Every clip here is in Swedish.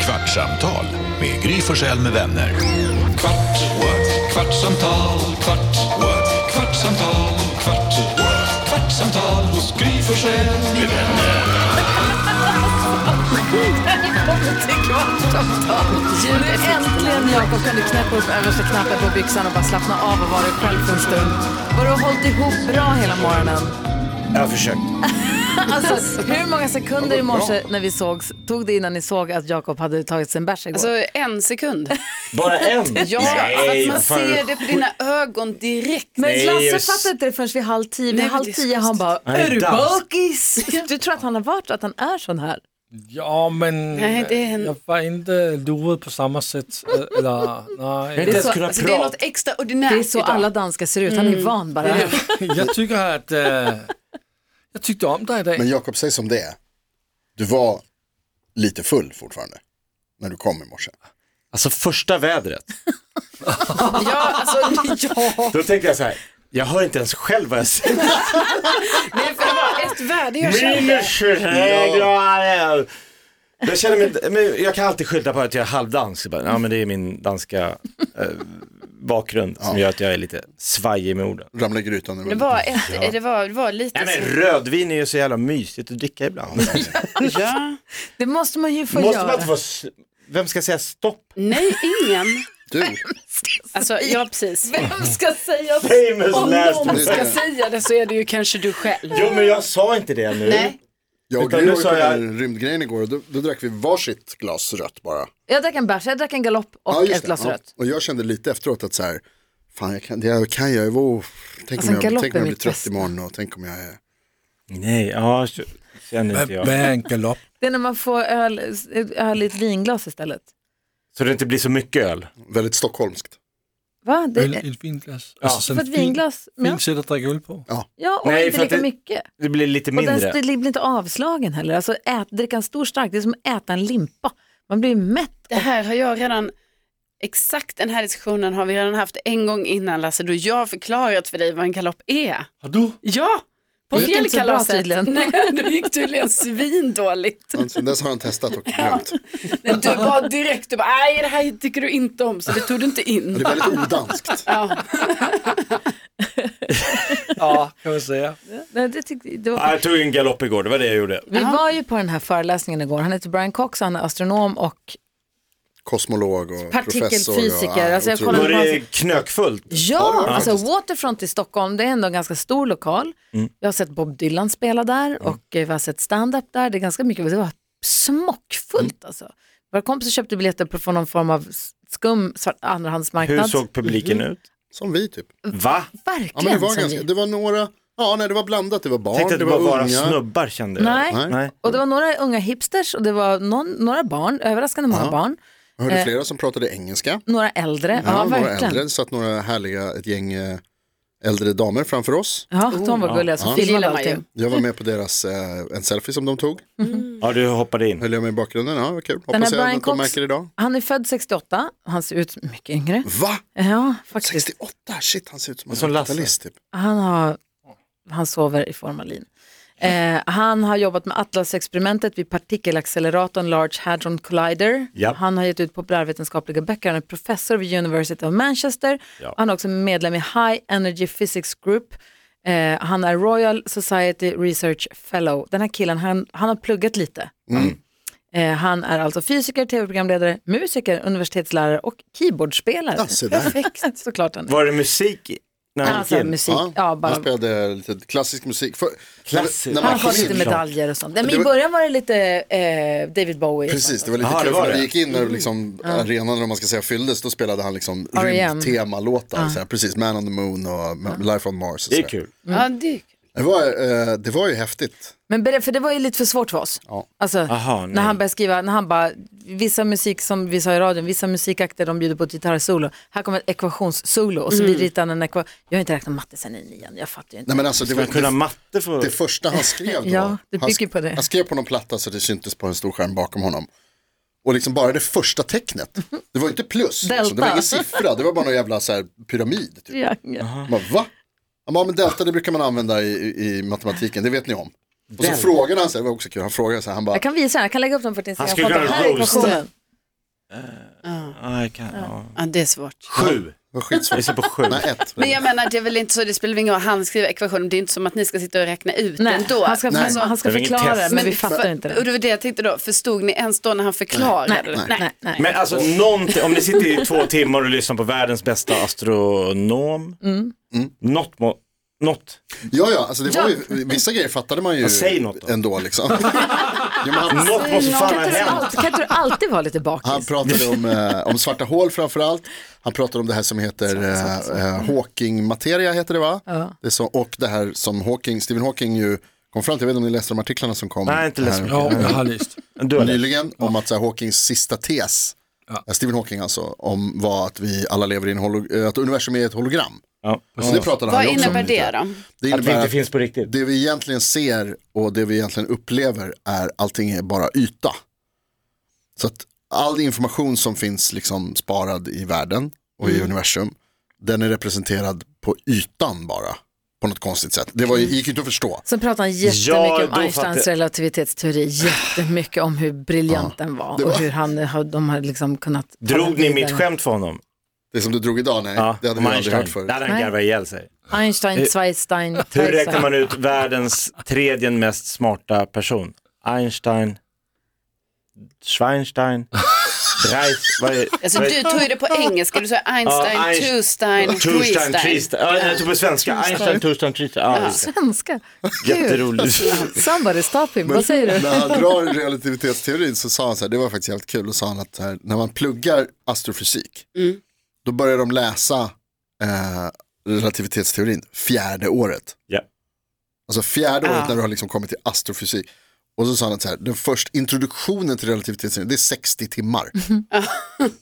Kvartsamtal med Gry Forssell med vänner. Kvart, what? kvartsamtal, kvart, what? kvartsamtal, kvart, what? kvartsamtal hos Gry Forssell med vänner. Nu äntligen, Jakob, kan du knäppa upp översta knappen på byxan och bara slappna av och vara dig själv för en stund. Har du hållit ihop bra hela morgonen? Jag har försökt. Alltså, hur många sekunder i morse när vi sågs tog det innan ni såg att Jakob hade tagit sin bärs igår? Alltså en sekund. Bara en? Ja, för att man fan. ser det på dina ögon direkt. men nej, Lasse jag- fattade inte det förrän vid halv tio. Vid Nej, men halv det är så tio han bara, Han är är du dansk." bakis? Du tror att han har varit att han är sån här? Ja, men Nej, det är en- jag var inte lurad på samma sätt. eh, Eller, Jag har inte nej. ens kunnat Alltså, det är något prata. extraordinärt Det är så idag. alla danskar ser ut, han är van bara. Jag tycker att eh, jag tyckte om dig idag. Men Jakob, säg som det är. Du var lite full fortfarande när du kom i morse. Alltså första vädret. Ja, alltså, ja. Då tänkte jag så här, jag hör inte ens själv vad jag säger. Nej, för det var ett värde jag kände. Minus 23 grader. Jag känner mig, men jag kan alltid skylla på att jag är halvdansk. Jag bara, Ja men det är min danska eh, bakgrund som gör att jag är lite svajig med orden. Ramla i grytan nu. Det var, ett, det var, det var lite Nej men så. rödvin är ju så jävla mysigt att dricka ibland. Ja. Det måste man ju få Måste man göra. inte få, s- vem ska säga stopp? Nej, ingen. Du, Alltså, ja precis. Mm. Vem ska säga så? Famous last Om words. du ska säga det så är det ju kanske du själv. Jo men jag sa inte det nu. Nej. jag och Utan nu Gry var ju på sa den här jag- rymdgrejen igår och då, då drack vi varsitt glas rött bara. Jag drack en bärs, jag drack en galopp och just ett det. glas Ja. rött. Och jag kände lite efteråt att så här, fan jag kan, det här kan jag, jag var, tänk Alltså, en om jag, galopp tänk är om jag blir mitt trött bästa. imorgon och tänk om jag är... Nej, ja, så- känner inte Vad jag. är en galopp? Det är när man får öl, öl i ett vinglas istället. Så det inte blir så mycket öl. Väldigt stockholmskt. Va? Det, Öl i ett vinglas? Alltså, för sån ett vinglas? Fin, Ja. fint sätt att dricka öl på. Ja, och Nej, inte för att lika det- mycket. Det blir lite Och den mindre. st- blir inte avslagen heller. Alltså ät, dricka en stor stark, det är som att äta en limpa. Man blir mätt. Det här har jag redan, exakt den här diskussionen har vi redan haft en gång innan Lasse, då jag har förklarat för dig vad en galopp är. Har du? Ja, på Det gick inte så bra fjällkalaset. tydligen. Nej, det gick tydligen svindåligt. Men Sen dess har han testat och glömt. Men Du var direkt, du bara, nej det här tycker du inte om, så det tog du inte Det in. är väldigt odanskt. Ja. Ja, kan man säga. Nej, det tyckte, det Ah. var... Ja, jag tog en galopp igår, det var det jag gjorde. Vi var ju på den här föreläsningen igår. Han heter Brian Cox, han är astronom och Kosmolog och professor. och- Partikelfysiker. ja, Alltså, jag otroligt. kollade- Var det knökfullt? Ja, alltså Waterfront i Stockholm, det är ändå en ganska stor lokal. Mm. Jag har sett Bob Dylan spela där och eh, vi har sett stand-up där. Det är ganska mycket, det var smockfullt Mm. alltså. Våra kompisar köpte biljetter på- från någon form av skum svart- andrahandsmarknad. Hur såg publiken ut? Som vi typ. Va? Ja, men det Verkligen. var, som ganska, vi. det var några, ja nej det var blandat, det var barn, Tänkte att det det bara var var unga. snubbar kände jag. Nej. Nej. Och det var några unga hipsters och det var någon, några barn, överraskande många barn. Jag hörde flera som pratade engelska. Några äldre, Eh. ja, Ja, några verkligen. äldre, det satt några härliga, ett gäng eh, äldre damer framför oss. Ja, de var alltså. gulliga som filmade Gillar man allting. Jag var med på deras, eh, en selfie som de tog, Ja, du hoppade in. höll jag med i bakgrunden, ja vad kul, Den här hoppas jag Brian att de Cox, märker idag. han är född 68, han ser ut mycket yngre. Va? Ja, faktiskt. 68? Shit, han ser ut som en Som Lasse. 80-talist typ. Han, har, han sover i formalin. Eh, han har jobbat med Atlas-experimentet vid partikelacceleratorn Large Hadron Collider. Ja. Han har gett ut populärvetenskapliga böcker. Han är professor vid University of Manchester. Ja. Han är också medlem i High Energy Physics Group. Eh, han är Royal Society Research Fellow. Den här killen, han, han har pluggat lite. Mm. Eh, han är alltså fysiker, tv-programledare, musiker, universitetslärare och keyboardspelare. Ja, se där. Perfekt. Såklart han är. Var det musik i- när han Alltså gick in? musik, ja, bara Han spelade lite klassisk musik. För, Klassisk. När, när Han man har kom lite in, medaljer och sånt. Nej, men Det I var- början var det lite eh, David Bowie. Precis, det var lite Jaha, kul det var för när det. vi gick in Mm. när liksom arenan eller vad man ska säga fylldes då spelade han liksom R.E.M.. rymdtemalåtar, så här, precis Man on the Moon och Ma- Life on Mars. Och Det så är där. kul. ja, det det, var, eh, det var ju häftigt. Men ber- för det var ju lite för svårt för oss. Ja. Alltså, Aha, nej. när han började skriva, när han bara, vissa musik som vi sa i radion, vissa musikakter de bjuder på ett gitarrsolo. Här kommer ett ekvationssolo och så vi ritar han en ekvation. Jag har inte räknat matte sen i nian, jag fattar ju inte. Mm. Nej, men alltså, det, var, Man kunde ha det, matte för... det första han skrev då, Ja, det han, bygger på det. han skrev på någon platta så det syntes på en stor skärm bakom honom. Och liksom bara det första tecknet, det var ju inte plus, liksom. det var Delta. ingen siffra, det var bara någon jävla så här, pyramid. Typ. Triangel. Man Bara, va? Han bara, men delta det brukar man använda i, i- i matematiken, det vet ni om. Och så frågade han, så här, det var också kul, han frågade så här, han bara, Jag kan visa den, jag kan lägga upp den på din Han Instagram. skulle Kolla, kunna här är roasta. ekvationen. Ja, jag kan, ja. Ja, det är svårt. Sju. Det var skitsvårt. Vi ser på sju. Nej, ett. Men jag menar, det är väl inte så, det spelar väl ingen roll, han skriver ekvationen, det är inte som att ni ska sitta och räkna ut Nej, den då. han ska, Nej. alltså, han ska Det var inget förklara test. det, men vi fattar inte Och det. det var det jag tänkte då, förstod ni ens då när han förklarade? det? Nej, nej, nej. Men alltså någonting, om ni sitter i två timmar och lyssnar på världens bästa astronom, Mm. något, må, något, Ja, ja, alltså det var ju, vissa grejer fattade man ju Ja, säg något då. ändå liksom. ja, alltså, men han, något måste fan Kan ha inte du hänt. alltid- kan inte du alltid vara lite han bakis? pratade om, eh, om svarta hål framförallt. Han pratade om det här som heter eh, eh, Mm. Hawking-materia, heter det va? Det är så, och det här som Hawking, Stephen Hawking ju kom fram till, jag vet inte om ni läste de artiklarna som kom. Nej, inte läst här- mycket. Ja, jag har läst. Du har det. nyligen om att så här, Hawkings sista tes, Ja. eh, Stephen Hawking alltså, om var att vi alla lever i en holo- eh, att universum är ett hologram. Ja. Så det pratade han Vad ju också om innebär lite. det då? Det Att vi innebär inte att finns på riktigt. det vi egentligen ser och det vi egentligen upplever är allting är bara yta. Så att all information som finns liksom sparad i världen och i universum, den är representerad på ytan bara. På något konstigt sätt. Det var, ju- gick ju inte att förstå. Sen pratar han jättemycket Ja, om då Einsteins fattar- relativitetsteori, jättemycket om hur briljant den var, det var- och hur han, har- de har liksom kunnat... Drog ni mitt vidare. skämt för honom? Det som du drog idag, nej, det hade om man aldrig Einstein. hört förut. Där hade han Nej. garvat ihjäl sig. Einstein, Zweistein, Eh, Hur räknar Teichstein. man ut världens tredje mest smarta person? Einstein, Schweinstein, Dreis, vad är Alltså vad är- du tog ju det på engelska, du sa Einstein, Ja, Einst- Tustein, Turstein, Triste. Ja, jag tog på svenska. Einstein, Turstein, Triste. Ja, just det. Svenska. Jätteroligt. Somebody stop him, vad säger du? När han drar relativitetsteorin så sa han så här, det var faktiskt jävligt kul, och sa han att så här, när man pluggar astrofysik, Mm. då börjar de läsa eh, relativitetsteorin fjärde året. Ja. Alltså Ah. fjärde året när du har liksom kommit till astrofysik. Och så sa han att så här, den först introduktionen till relativitetsteorin, det är 60 timmar. Mhm.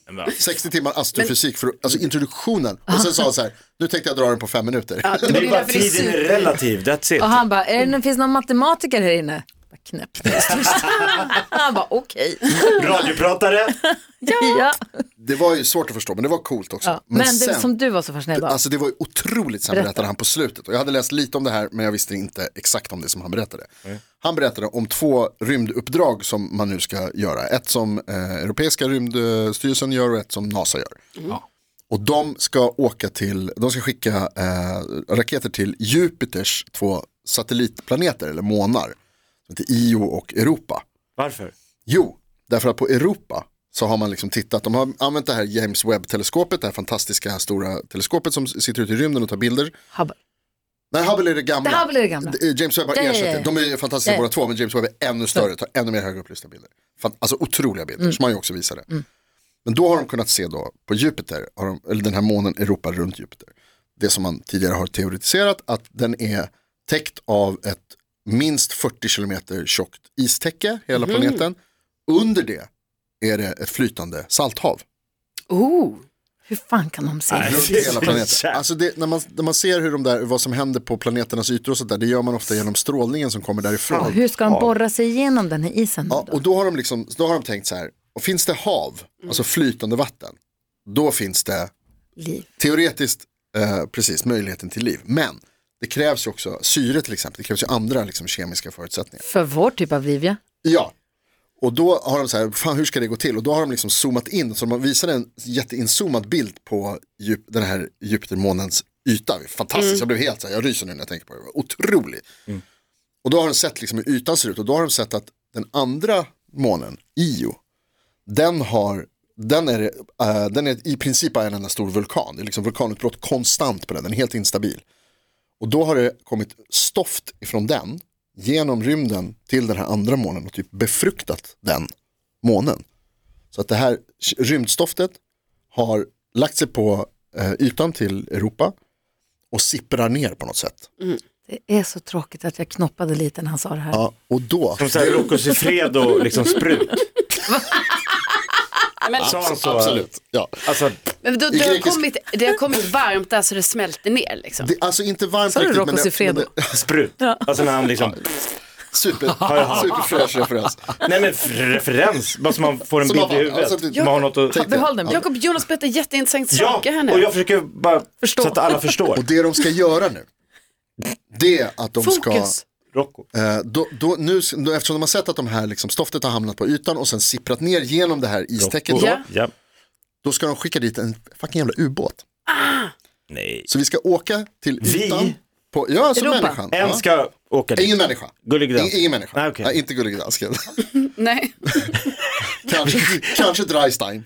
Men vad 60 timmar astrofysik, för, alltså introduktionen. Och sen sa han så här, nu tänkte jag dra den på fem minuter. Det Det är bara därför det är tiden är super- relativ, that's it. Och han bara, är det, finns det någon matematiker här inne? Bara, Knäppt. han bara, okej. Radiopratare, Ja. Det var ju svårt att förstå, men det var coolt också. Men, det sen- som du var så fascinerad av. Alltså det var ju otroligt sen berättade han på slutet. Och jag hade läst lite om det här men jag visste inte exakt om det som han berättade. Han berättade om två rymduppdrag som man nu ska göra. Ett som eh, Europeiska rymdstyrelsen gör och ett som NASA gör. Och de ska åka till, de ska skicka eh, raketer till Jupiters två satellitplaneter eller månar. Som heter Io och Europa. varför? Jo, därför att på Europa så har man liksom tittat, de har använt det här James Webb-teleskopet, det här fantastiska stora teleskopet som sitter ute i rymden och tar bilder. Hubble. Nej, Hubble är det gamla. Det Hubble är det gamla. D- Eh, James Webb har Ja, ja, ersatt ja, det. ja. De är fantastiska Ja. båda två, men James Webb är ännu större, tar ännu mer högupplösta bilder. Fan, alltså otroliga bilder, Mm. som han ju också visade. Men då har de kunnat se då på Jupiter, har de, eller den här månen Europa runt Jupiter, det som man tidigare har teoretiserat, att den är täckt av ett minst 40 kilometer tjockt istäcke, hela Mhm. planeten. Under det är det ett flytande salthav. Oh, Hur fan kan de se? Nej. det? Runt Det är hela så planeten. kärt. Alltså det, när, man, när man ser hur de där, vad som händer på planeternas ytor och sånt där, det gör man ofta genom strålningen som kommer Och därifrån. hur ska de borra sig igenom den här isen? nu Ja, då? och då har, de liksom, då har de tänkt så här, och finns det hav, alltså flytande vatten, då finns det Liv. teoretiskt eh, precis möjligheten till liv. Men det krävs ju också syre till exempel, det krävs ju andra liksom, kemiska förutsättningar. För vår typ av liv, ja. Ja. Och då har de så här, fan hur ska det gå till? Och då har de liksom zoomat in, så de visade en jätteinzoomad bild på Ju- den här Jupitermånens yta. Fantastiskt, jag blev helt så här, jag ryser nu när jag tänker på det. det. var Otroligt. Och då har de sett liksom hur ytan ser ut och då har de sett att den andra månen, Io, den har den är, eh, den är i princip bara en enda stor vulkan. Det är liksom vulkanutbrott konstant på den, den är helt instabil. Och då har det kommit stoft ifrån den genom rymden till den här andra månen och typ befruktat den månen. Så att det här k- rymdstoftet har lagt sig på eh, ytan till Europa och sipprar ner på något sätt. Det är så tråkigt att jag knoppade lite när han sa det här. Ja, och då, Som såhär Rocco Siffredo, liksom sprut. men, Sa han så? absolut. Ja. Alltså, men då, I det, har grekisk- kommit, det har kommit varmt där så det smälter ner liksom. Det, alltså inte varmt Sa du Rocco det- Siffredo? det- sprut. Alltså när han liksom, super, superfräsch referens. nej men f- referens, bara så man får en Så bild man i bara, huvudet. alltså, det- man har något att... Tänk dig. Behåll den. Jakob. Jakob Jonas berättar jätteintressanta Ja, saker här nu. och jag försöker bara, så att alla förstår. Och det de ska göra nu, det är att de ska Fokus. Rocco. Eh, Då, då, nu, då, eftersom de har sett att de här liksom, stoftet har hamnat på ytan och sen sipprat ner genom det här istäcket, då, Ja. Ja. då ska de skicka dit en fucking jävla ubåt. Nej. Så vi ska åka till Vi? ytan. På, ja, som Europa. människan. En Ja. ska åka dit. Ingen människa. Gullig dans. Ingen, ingen människa. Nej, Ah, okej. Nej, inte gullig dansken. Nej, kanske, kanske Dreistein.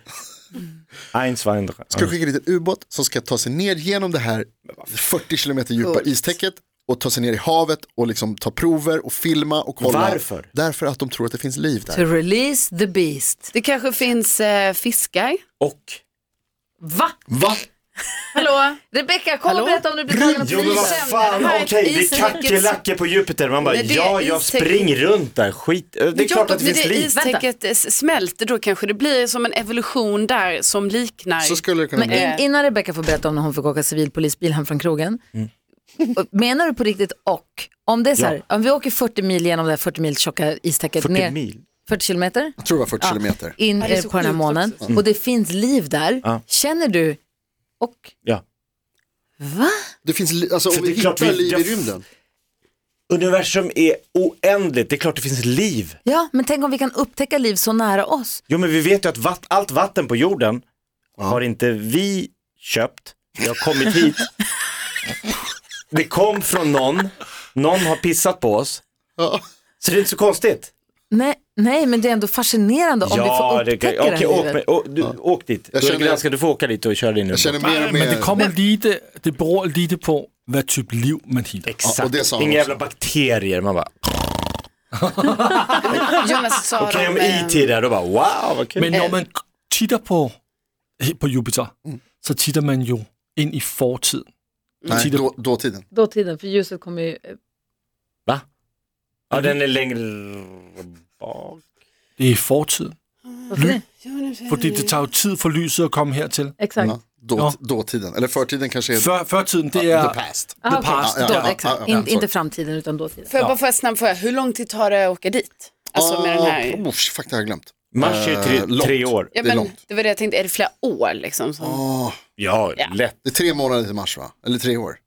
Ein, zwei, drei. Ska skicka dit en ubåt som ska ta sig ner genom det här 40 kilometer djupa Coolt. istäcket och ta sig ner i havet och liksom ta prover och filma och kolla. Varför? Därför att de tror att det finns liv där. To release the beast. det kanske finns eh, fiskar. Och? Va? Va? Hallå? Rebecka, kom Hallå? och berätta om du blir tagen av Jo men vad polisen. fan, Det här är okej ett det är isen- kackerlackor på Jupiter. Man bara, Nej, det är ja jag istäcket. springer runt där, skit. eh, Det är klart Jakob, att det när finns det liv. istäcket eh, smälter då kanske det blir som en evolution där som liknar. Så skulle det kunna Men eh, bli. in, innan Rebecka får berätta om när hon fick åka civilpolisbil hem från krogen. Mm. Och Menar du på riktigt och? Om det är så här, om vi åker 40 mil genom det här 40 mil tjocka istäcket 40 ner, mil. 40 kilometer Jag tror det var 40 kilometer. in Ja, det är eh, så på den här sjukt månen och det finns liv där. Ja. Känner du och? Ja. Va? Det finns, li- alltså För om vi det är klart hittar vi- liv i jag- rymden. Universum är oändligt, det är klart det finns liv. Ja, men tänk om vi kan upptäcka liv så nära oss. Jo men vi vet ju att vatt, allt vatten på jorden har inte vi köpt, det har kommit hit. det kom från någon, någon har pissat på oss. Ja. Så det är inte så konstigt. Nej, nej men det är ändå fascinerande om vi får det upptäcka det, okej, här åk, livet. med, å, du, åk dit. Jag Du, känner- känner... du får åka dit och köra din Jag ubåt. känner mer och mer. Men det kommer lite, det beror lite på vad typ liv man hittar. Exakt, Ja, och det sa han inga också. jävla bakterier. Man bara, Jonas sa okej om de, eh, IT där, då bara wow vad kul. Men när man tittar på, på Jupiter, så tittar man ju in i fortiden. Nej, då, dåtiden. Dåtiden, för ljuset kommer ju... eh, Va? Ja den är längre bak. Det är fortiden. Varför det? För det tar ju tid för lyset att komma här till. Exakt. Ja, då, Ja. Dåtiden, eller förtiden kanske är För, förtiden, det the är past. Ah, the okej. past. Ja, ja, Då, ja, ja, exakt. ja, In, sorry. inte framtiden utan dåtiden. Får jag bara få en snabb fråga, hur lång tid tar det att åka dit? Alltså med den här... Oh, fuck, det har jag glömt. Mars är ju Eh, tre, långt. tre år. Ja, det är men, långt. Ah. det var det jag tänkte, är det flera år liksom? Som... Åh, Ja, Ja. lätt. det är tre månader till mars va? Eller tre år?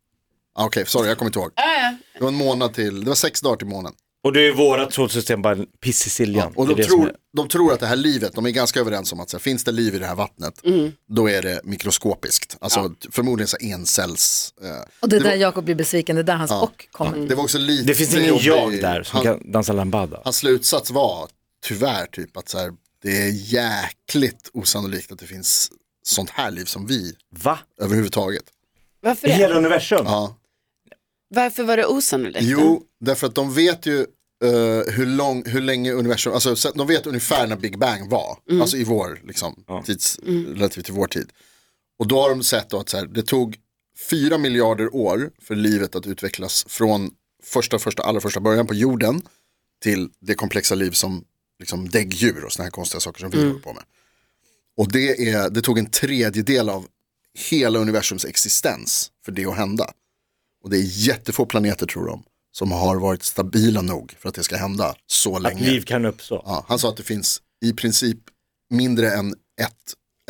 Ah, Okej, sorry jag kommer inte ihåg. Ja, ja. Det var en månad till, det var sex dagar till månen. Och det är ju vårat solsystem bara en piss i Ja, Siljan. och Det är de det som tror, är- de tror att det här livet, de är ganska överens om att så här, finns det liv i det här vattnet, Mm. då är det mikroskopiskt. Alltså förmodligen så här encells. Eh, Och det är där Jakob blir besviken, det är där hans och kommer. Mm. det var också lite Det finns ingen jag jobbig- där som han, kan dansa lambada. Hans slutsats var tyvärr typ att så här, det är jäkligt osannolikt att det finns sånt här liv som vi Va? överhuvudtaget. Varför I hela det? universum? Ja. Varför var det osannolikt? Jo, därför att de vet ju eh, hur, lång, hur länge universum, alltså så att de vet ungefär när Big Bang var, alltså i vår, liksom, tids, relativt till vår tid. Och då har de sett då att så här, det tog fyra miljarder år för livet att utvecklas från första, första, allra första början på jorden till det komplexa liv som liksom däggdjur och såna här konstiga saker som vi håller på med. Och det, är, det tog en tredjedel av hela universums existens för det att hända. Och det är jättefå planeter tror de som har varit stabila nog för att det ska hända så Att länge. liv kan uppstå. Ja, han sa att det finns i princip mindre än ett,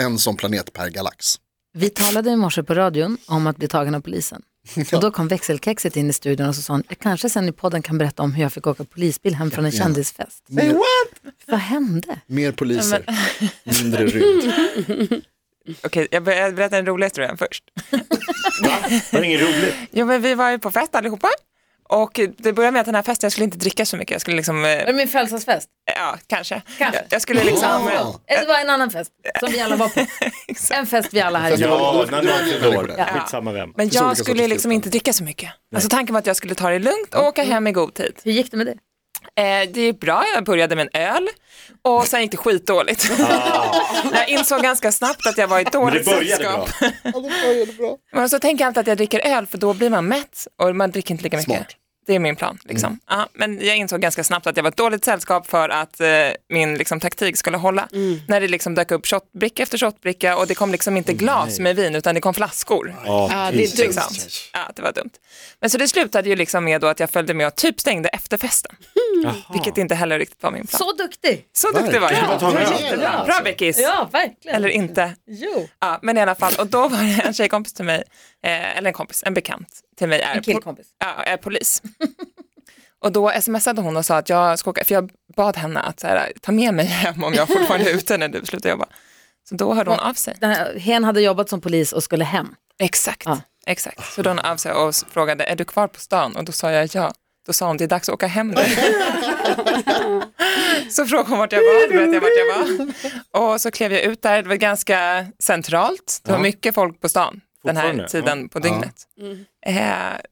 en sån planet per galax. Vi talade i morse på radion om att bli tagen av polisen. Och då kom växelkexet in i studion och så sa han, jag kanske sen i podden kan berätta om hur jag fick åka polisbil hem från en kändisfest. Mer, Vad hände? mer poliser, mindre rymd. Okej, jag ber- jag berättar den roliga historien först. Var det inget roligt? Jo, men vi var ju på fest allihopa och det började med att den här festen, jag skulle inte dricka så mycket, jag skulle liksom, eh, min födelsedagsfest? ja kanske. Kanske. Jag, jag skulle liksom, eh, Ja. Eller det var en annan fest som vi alla var på. En fest vi alla här inne var- Ja, det när var- någon det var- fyller år. Ja. Skitsamma vem. men finns olika jag sorters skulle liksom tillstånd. inte dricka så mycket. Alltså tanken var att jag skulle ta det lugnt och åka hem i god tid. Hur gick det med det? Mm. Eh, det gick bra, jag började med en öl och sen gick det skitdåligt. jag insåg ganska snabbt att jag var i ett Ah. Men det dåligt började bra. sällskap. Men så tänker jag alltid att jag dricker öl för då blir man mätt och man dricker inte lika mycket. Smart. Det är min plan. Liksom. Ja, men jag insåg ganska snabbt att jag var ett dåligt sällskap för att eh, min liksom, taktik skulle hålla. När det liksom dök upp shotbricka efter shotbricka och det kom liksom inte glas med vin utan det kom flaskor. Ja, det är dumt. Liksom. Ja, det var dumt. Men så det slutade ju liksom med då att jag följde med och typ stängde efter festen. Vilket inte heller riktigt var min plan. Så, Så duktig! duktig var Verkligen. jag. Ta en öl. Jättebra. Bra Beckis! Ja, verkligen. Eller inte. Jo. Ja, men i alla fall, och då var det en tjejkompis till mig, eh, eller en kompis, en bekant till mig är, En killkompis. ja, är polis. Och då smsade hon och sa att jag ska åka, för jag bad henne att så här, ta med mig hem om jag fortfarande är ute när du slutar jobba. Så då hörde hon av sig. Den här, hen hade jobbat som polis och skulle hem. Exakt, Ja. exakt. Så då hörde hon av sig och s- frågade, är du kvar på stan? Och då sa jag ja. Då sa hon, det är dags att åka hem nu. så frågade hon vart jag var, då berättade jag vart jag var. Och så klev jag ut där, det var ganska centralt, det var mycket folk på stan den här Fortfarande, tiden på dygnet. Eh,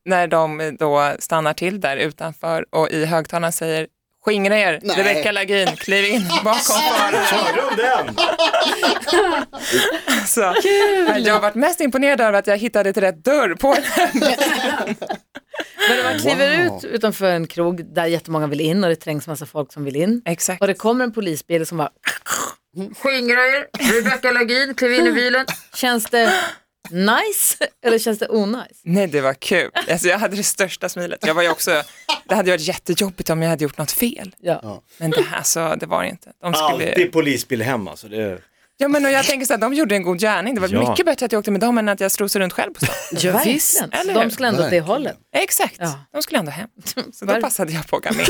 när de då stannar till där utanför och i högtalarna säger, skingra er, Nej. Rebecka Lagin, kliv in bakom faran. Hörde om den? Så. Men jag har varit mest imponerad över att jag hittade till rätt dörr på den. Men man kliver Wow. ut utanför en krog där jättemånga vill in och det trängs massa folk som vill in. Exakt. Och det kommer en polisbil som bara skingrar Rebecka Lagin, kliv in i bilen. Känns det nice eller känns det onice? Nej, det var kul. Alltså, jag hade det största smilet. Jag var ju också, det hade ju varit jättejobbigt om jag hade gjort något fel. Ja. Men det här så, det var det inte. De skulle... Alltid polisbil hem alltså. Det... Ja, men och jag tänker så här, de gjorde en god gärning. Det var Ja. mycket bättre att jag åkte med dem än att jag strosade runt själv på stan. Ja, Verkligen. visst, Så eller hur? De skulle ändå åt det Verkligen. hållet. Exakt, Ja. de skulle ändå hem. Så Var- då passade jag på att åka med.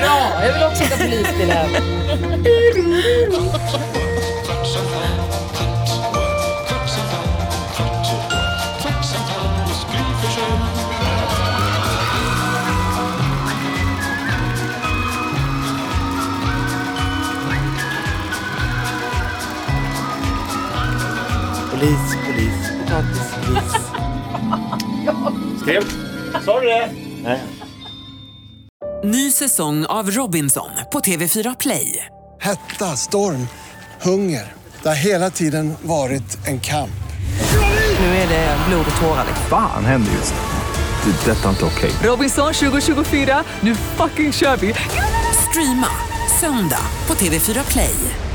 Bra, jag vill också åka polisbil här. Kvartsamtal, kvartsamtal, kvartsamtal, kvartsamtal hos Gry Forssell med vänner. Polis, polis, potatis, polis. Skrev. Sa du det? Nej. Ny säsong av Robinson på TV4 Play. Hetta, storm, hunger. Det har hela tiden varit en kamp. Nu är det blod och tårar. liksom. Fan händer just nu. Det. är Detta är inte okej. Robinson 2024, nu fucking kör vi! Streama söndag på TV4 Play.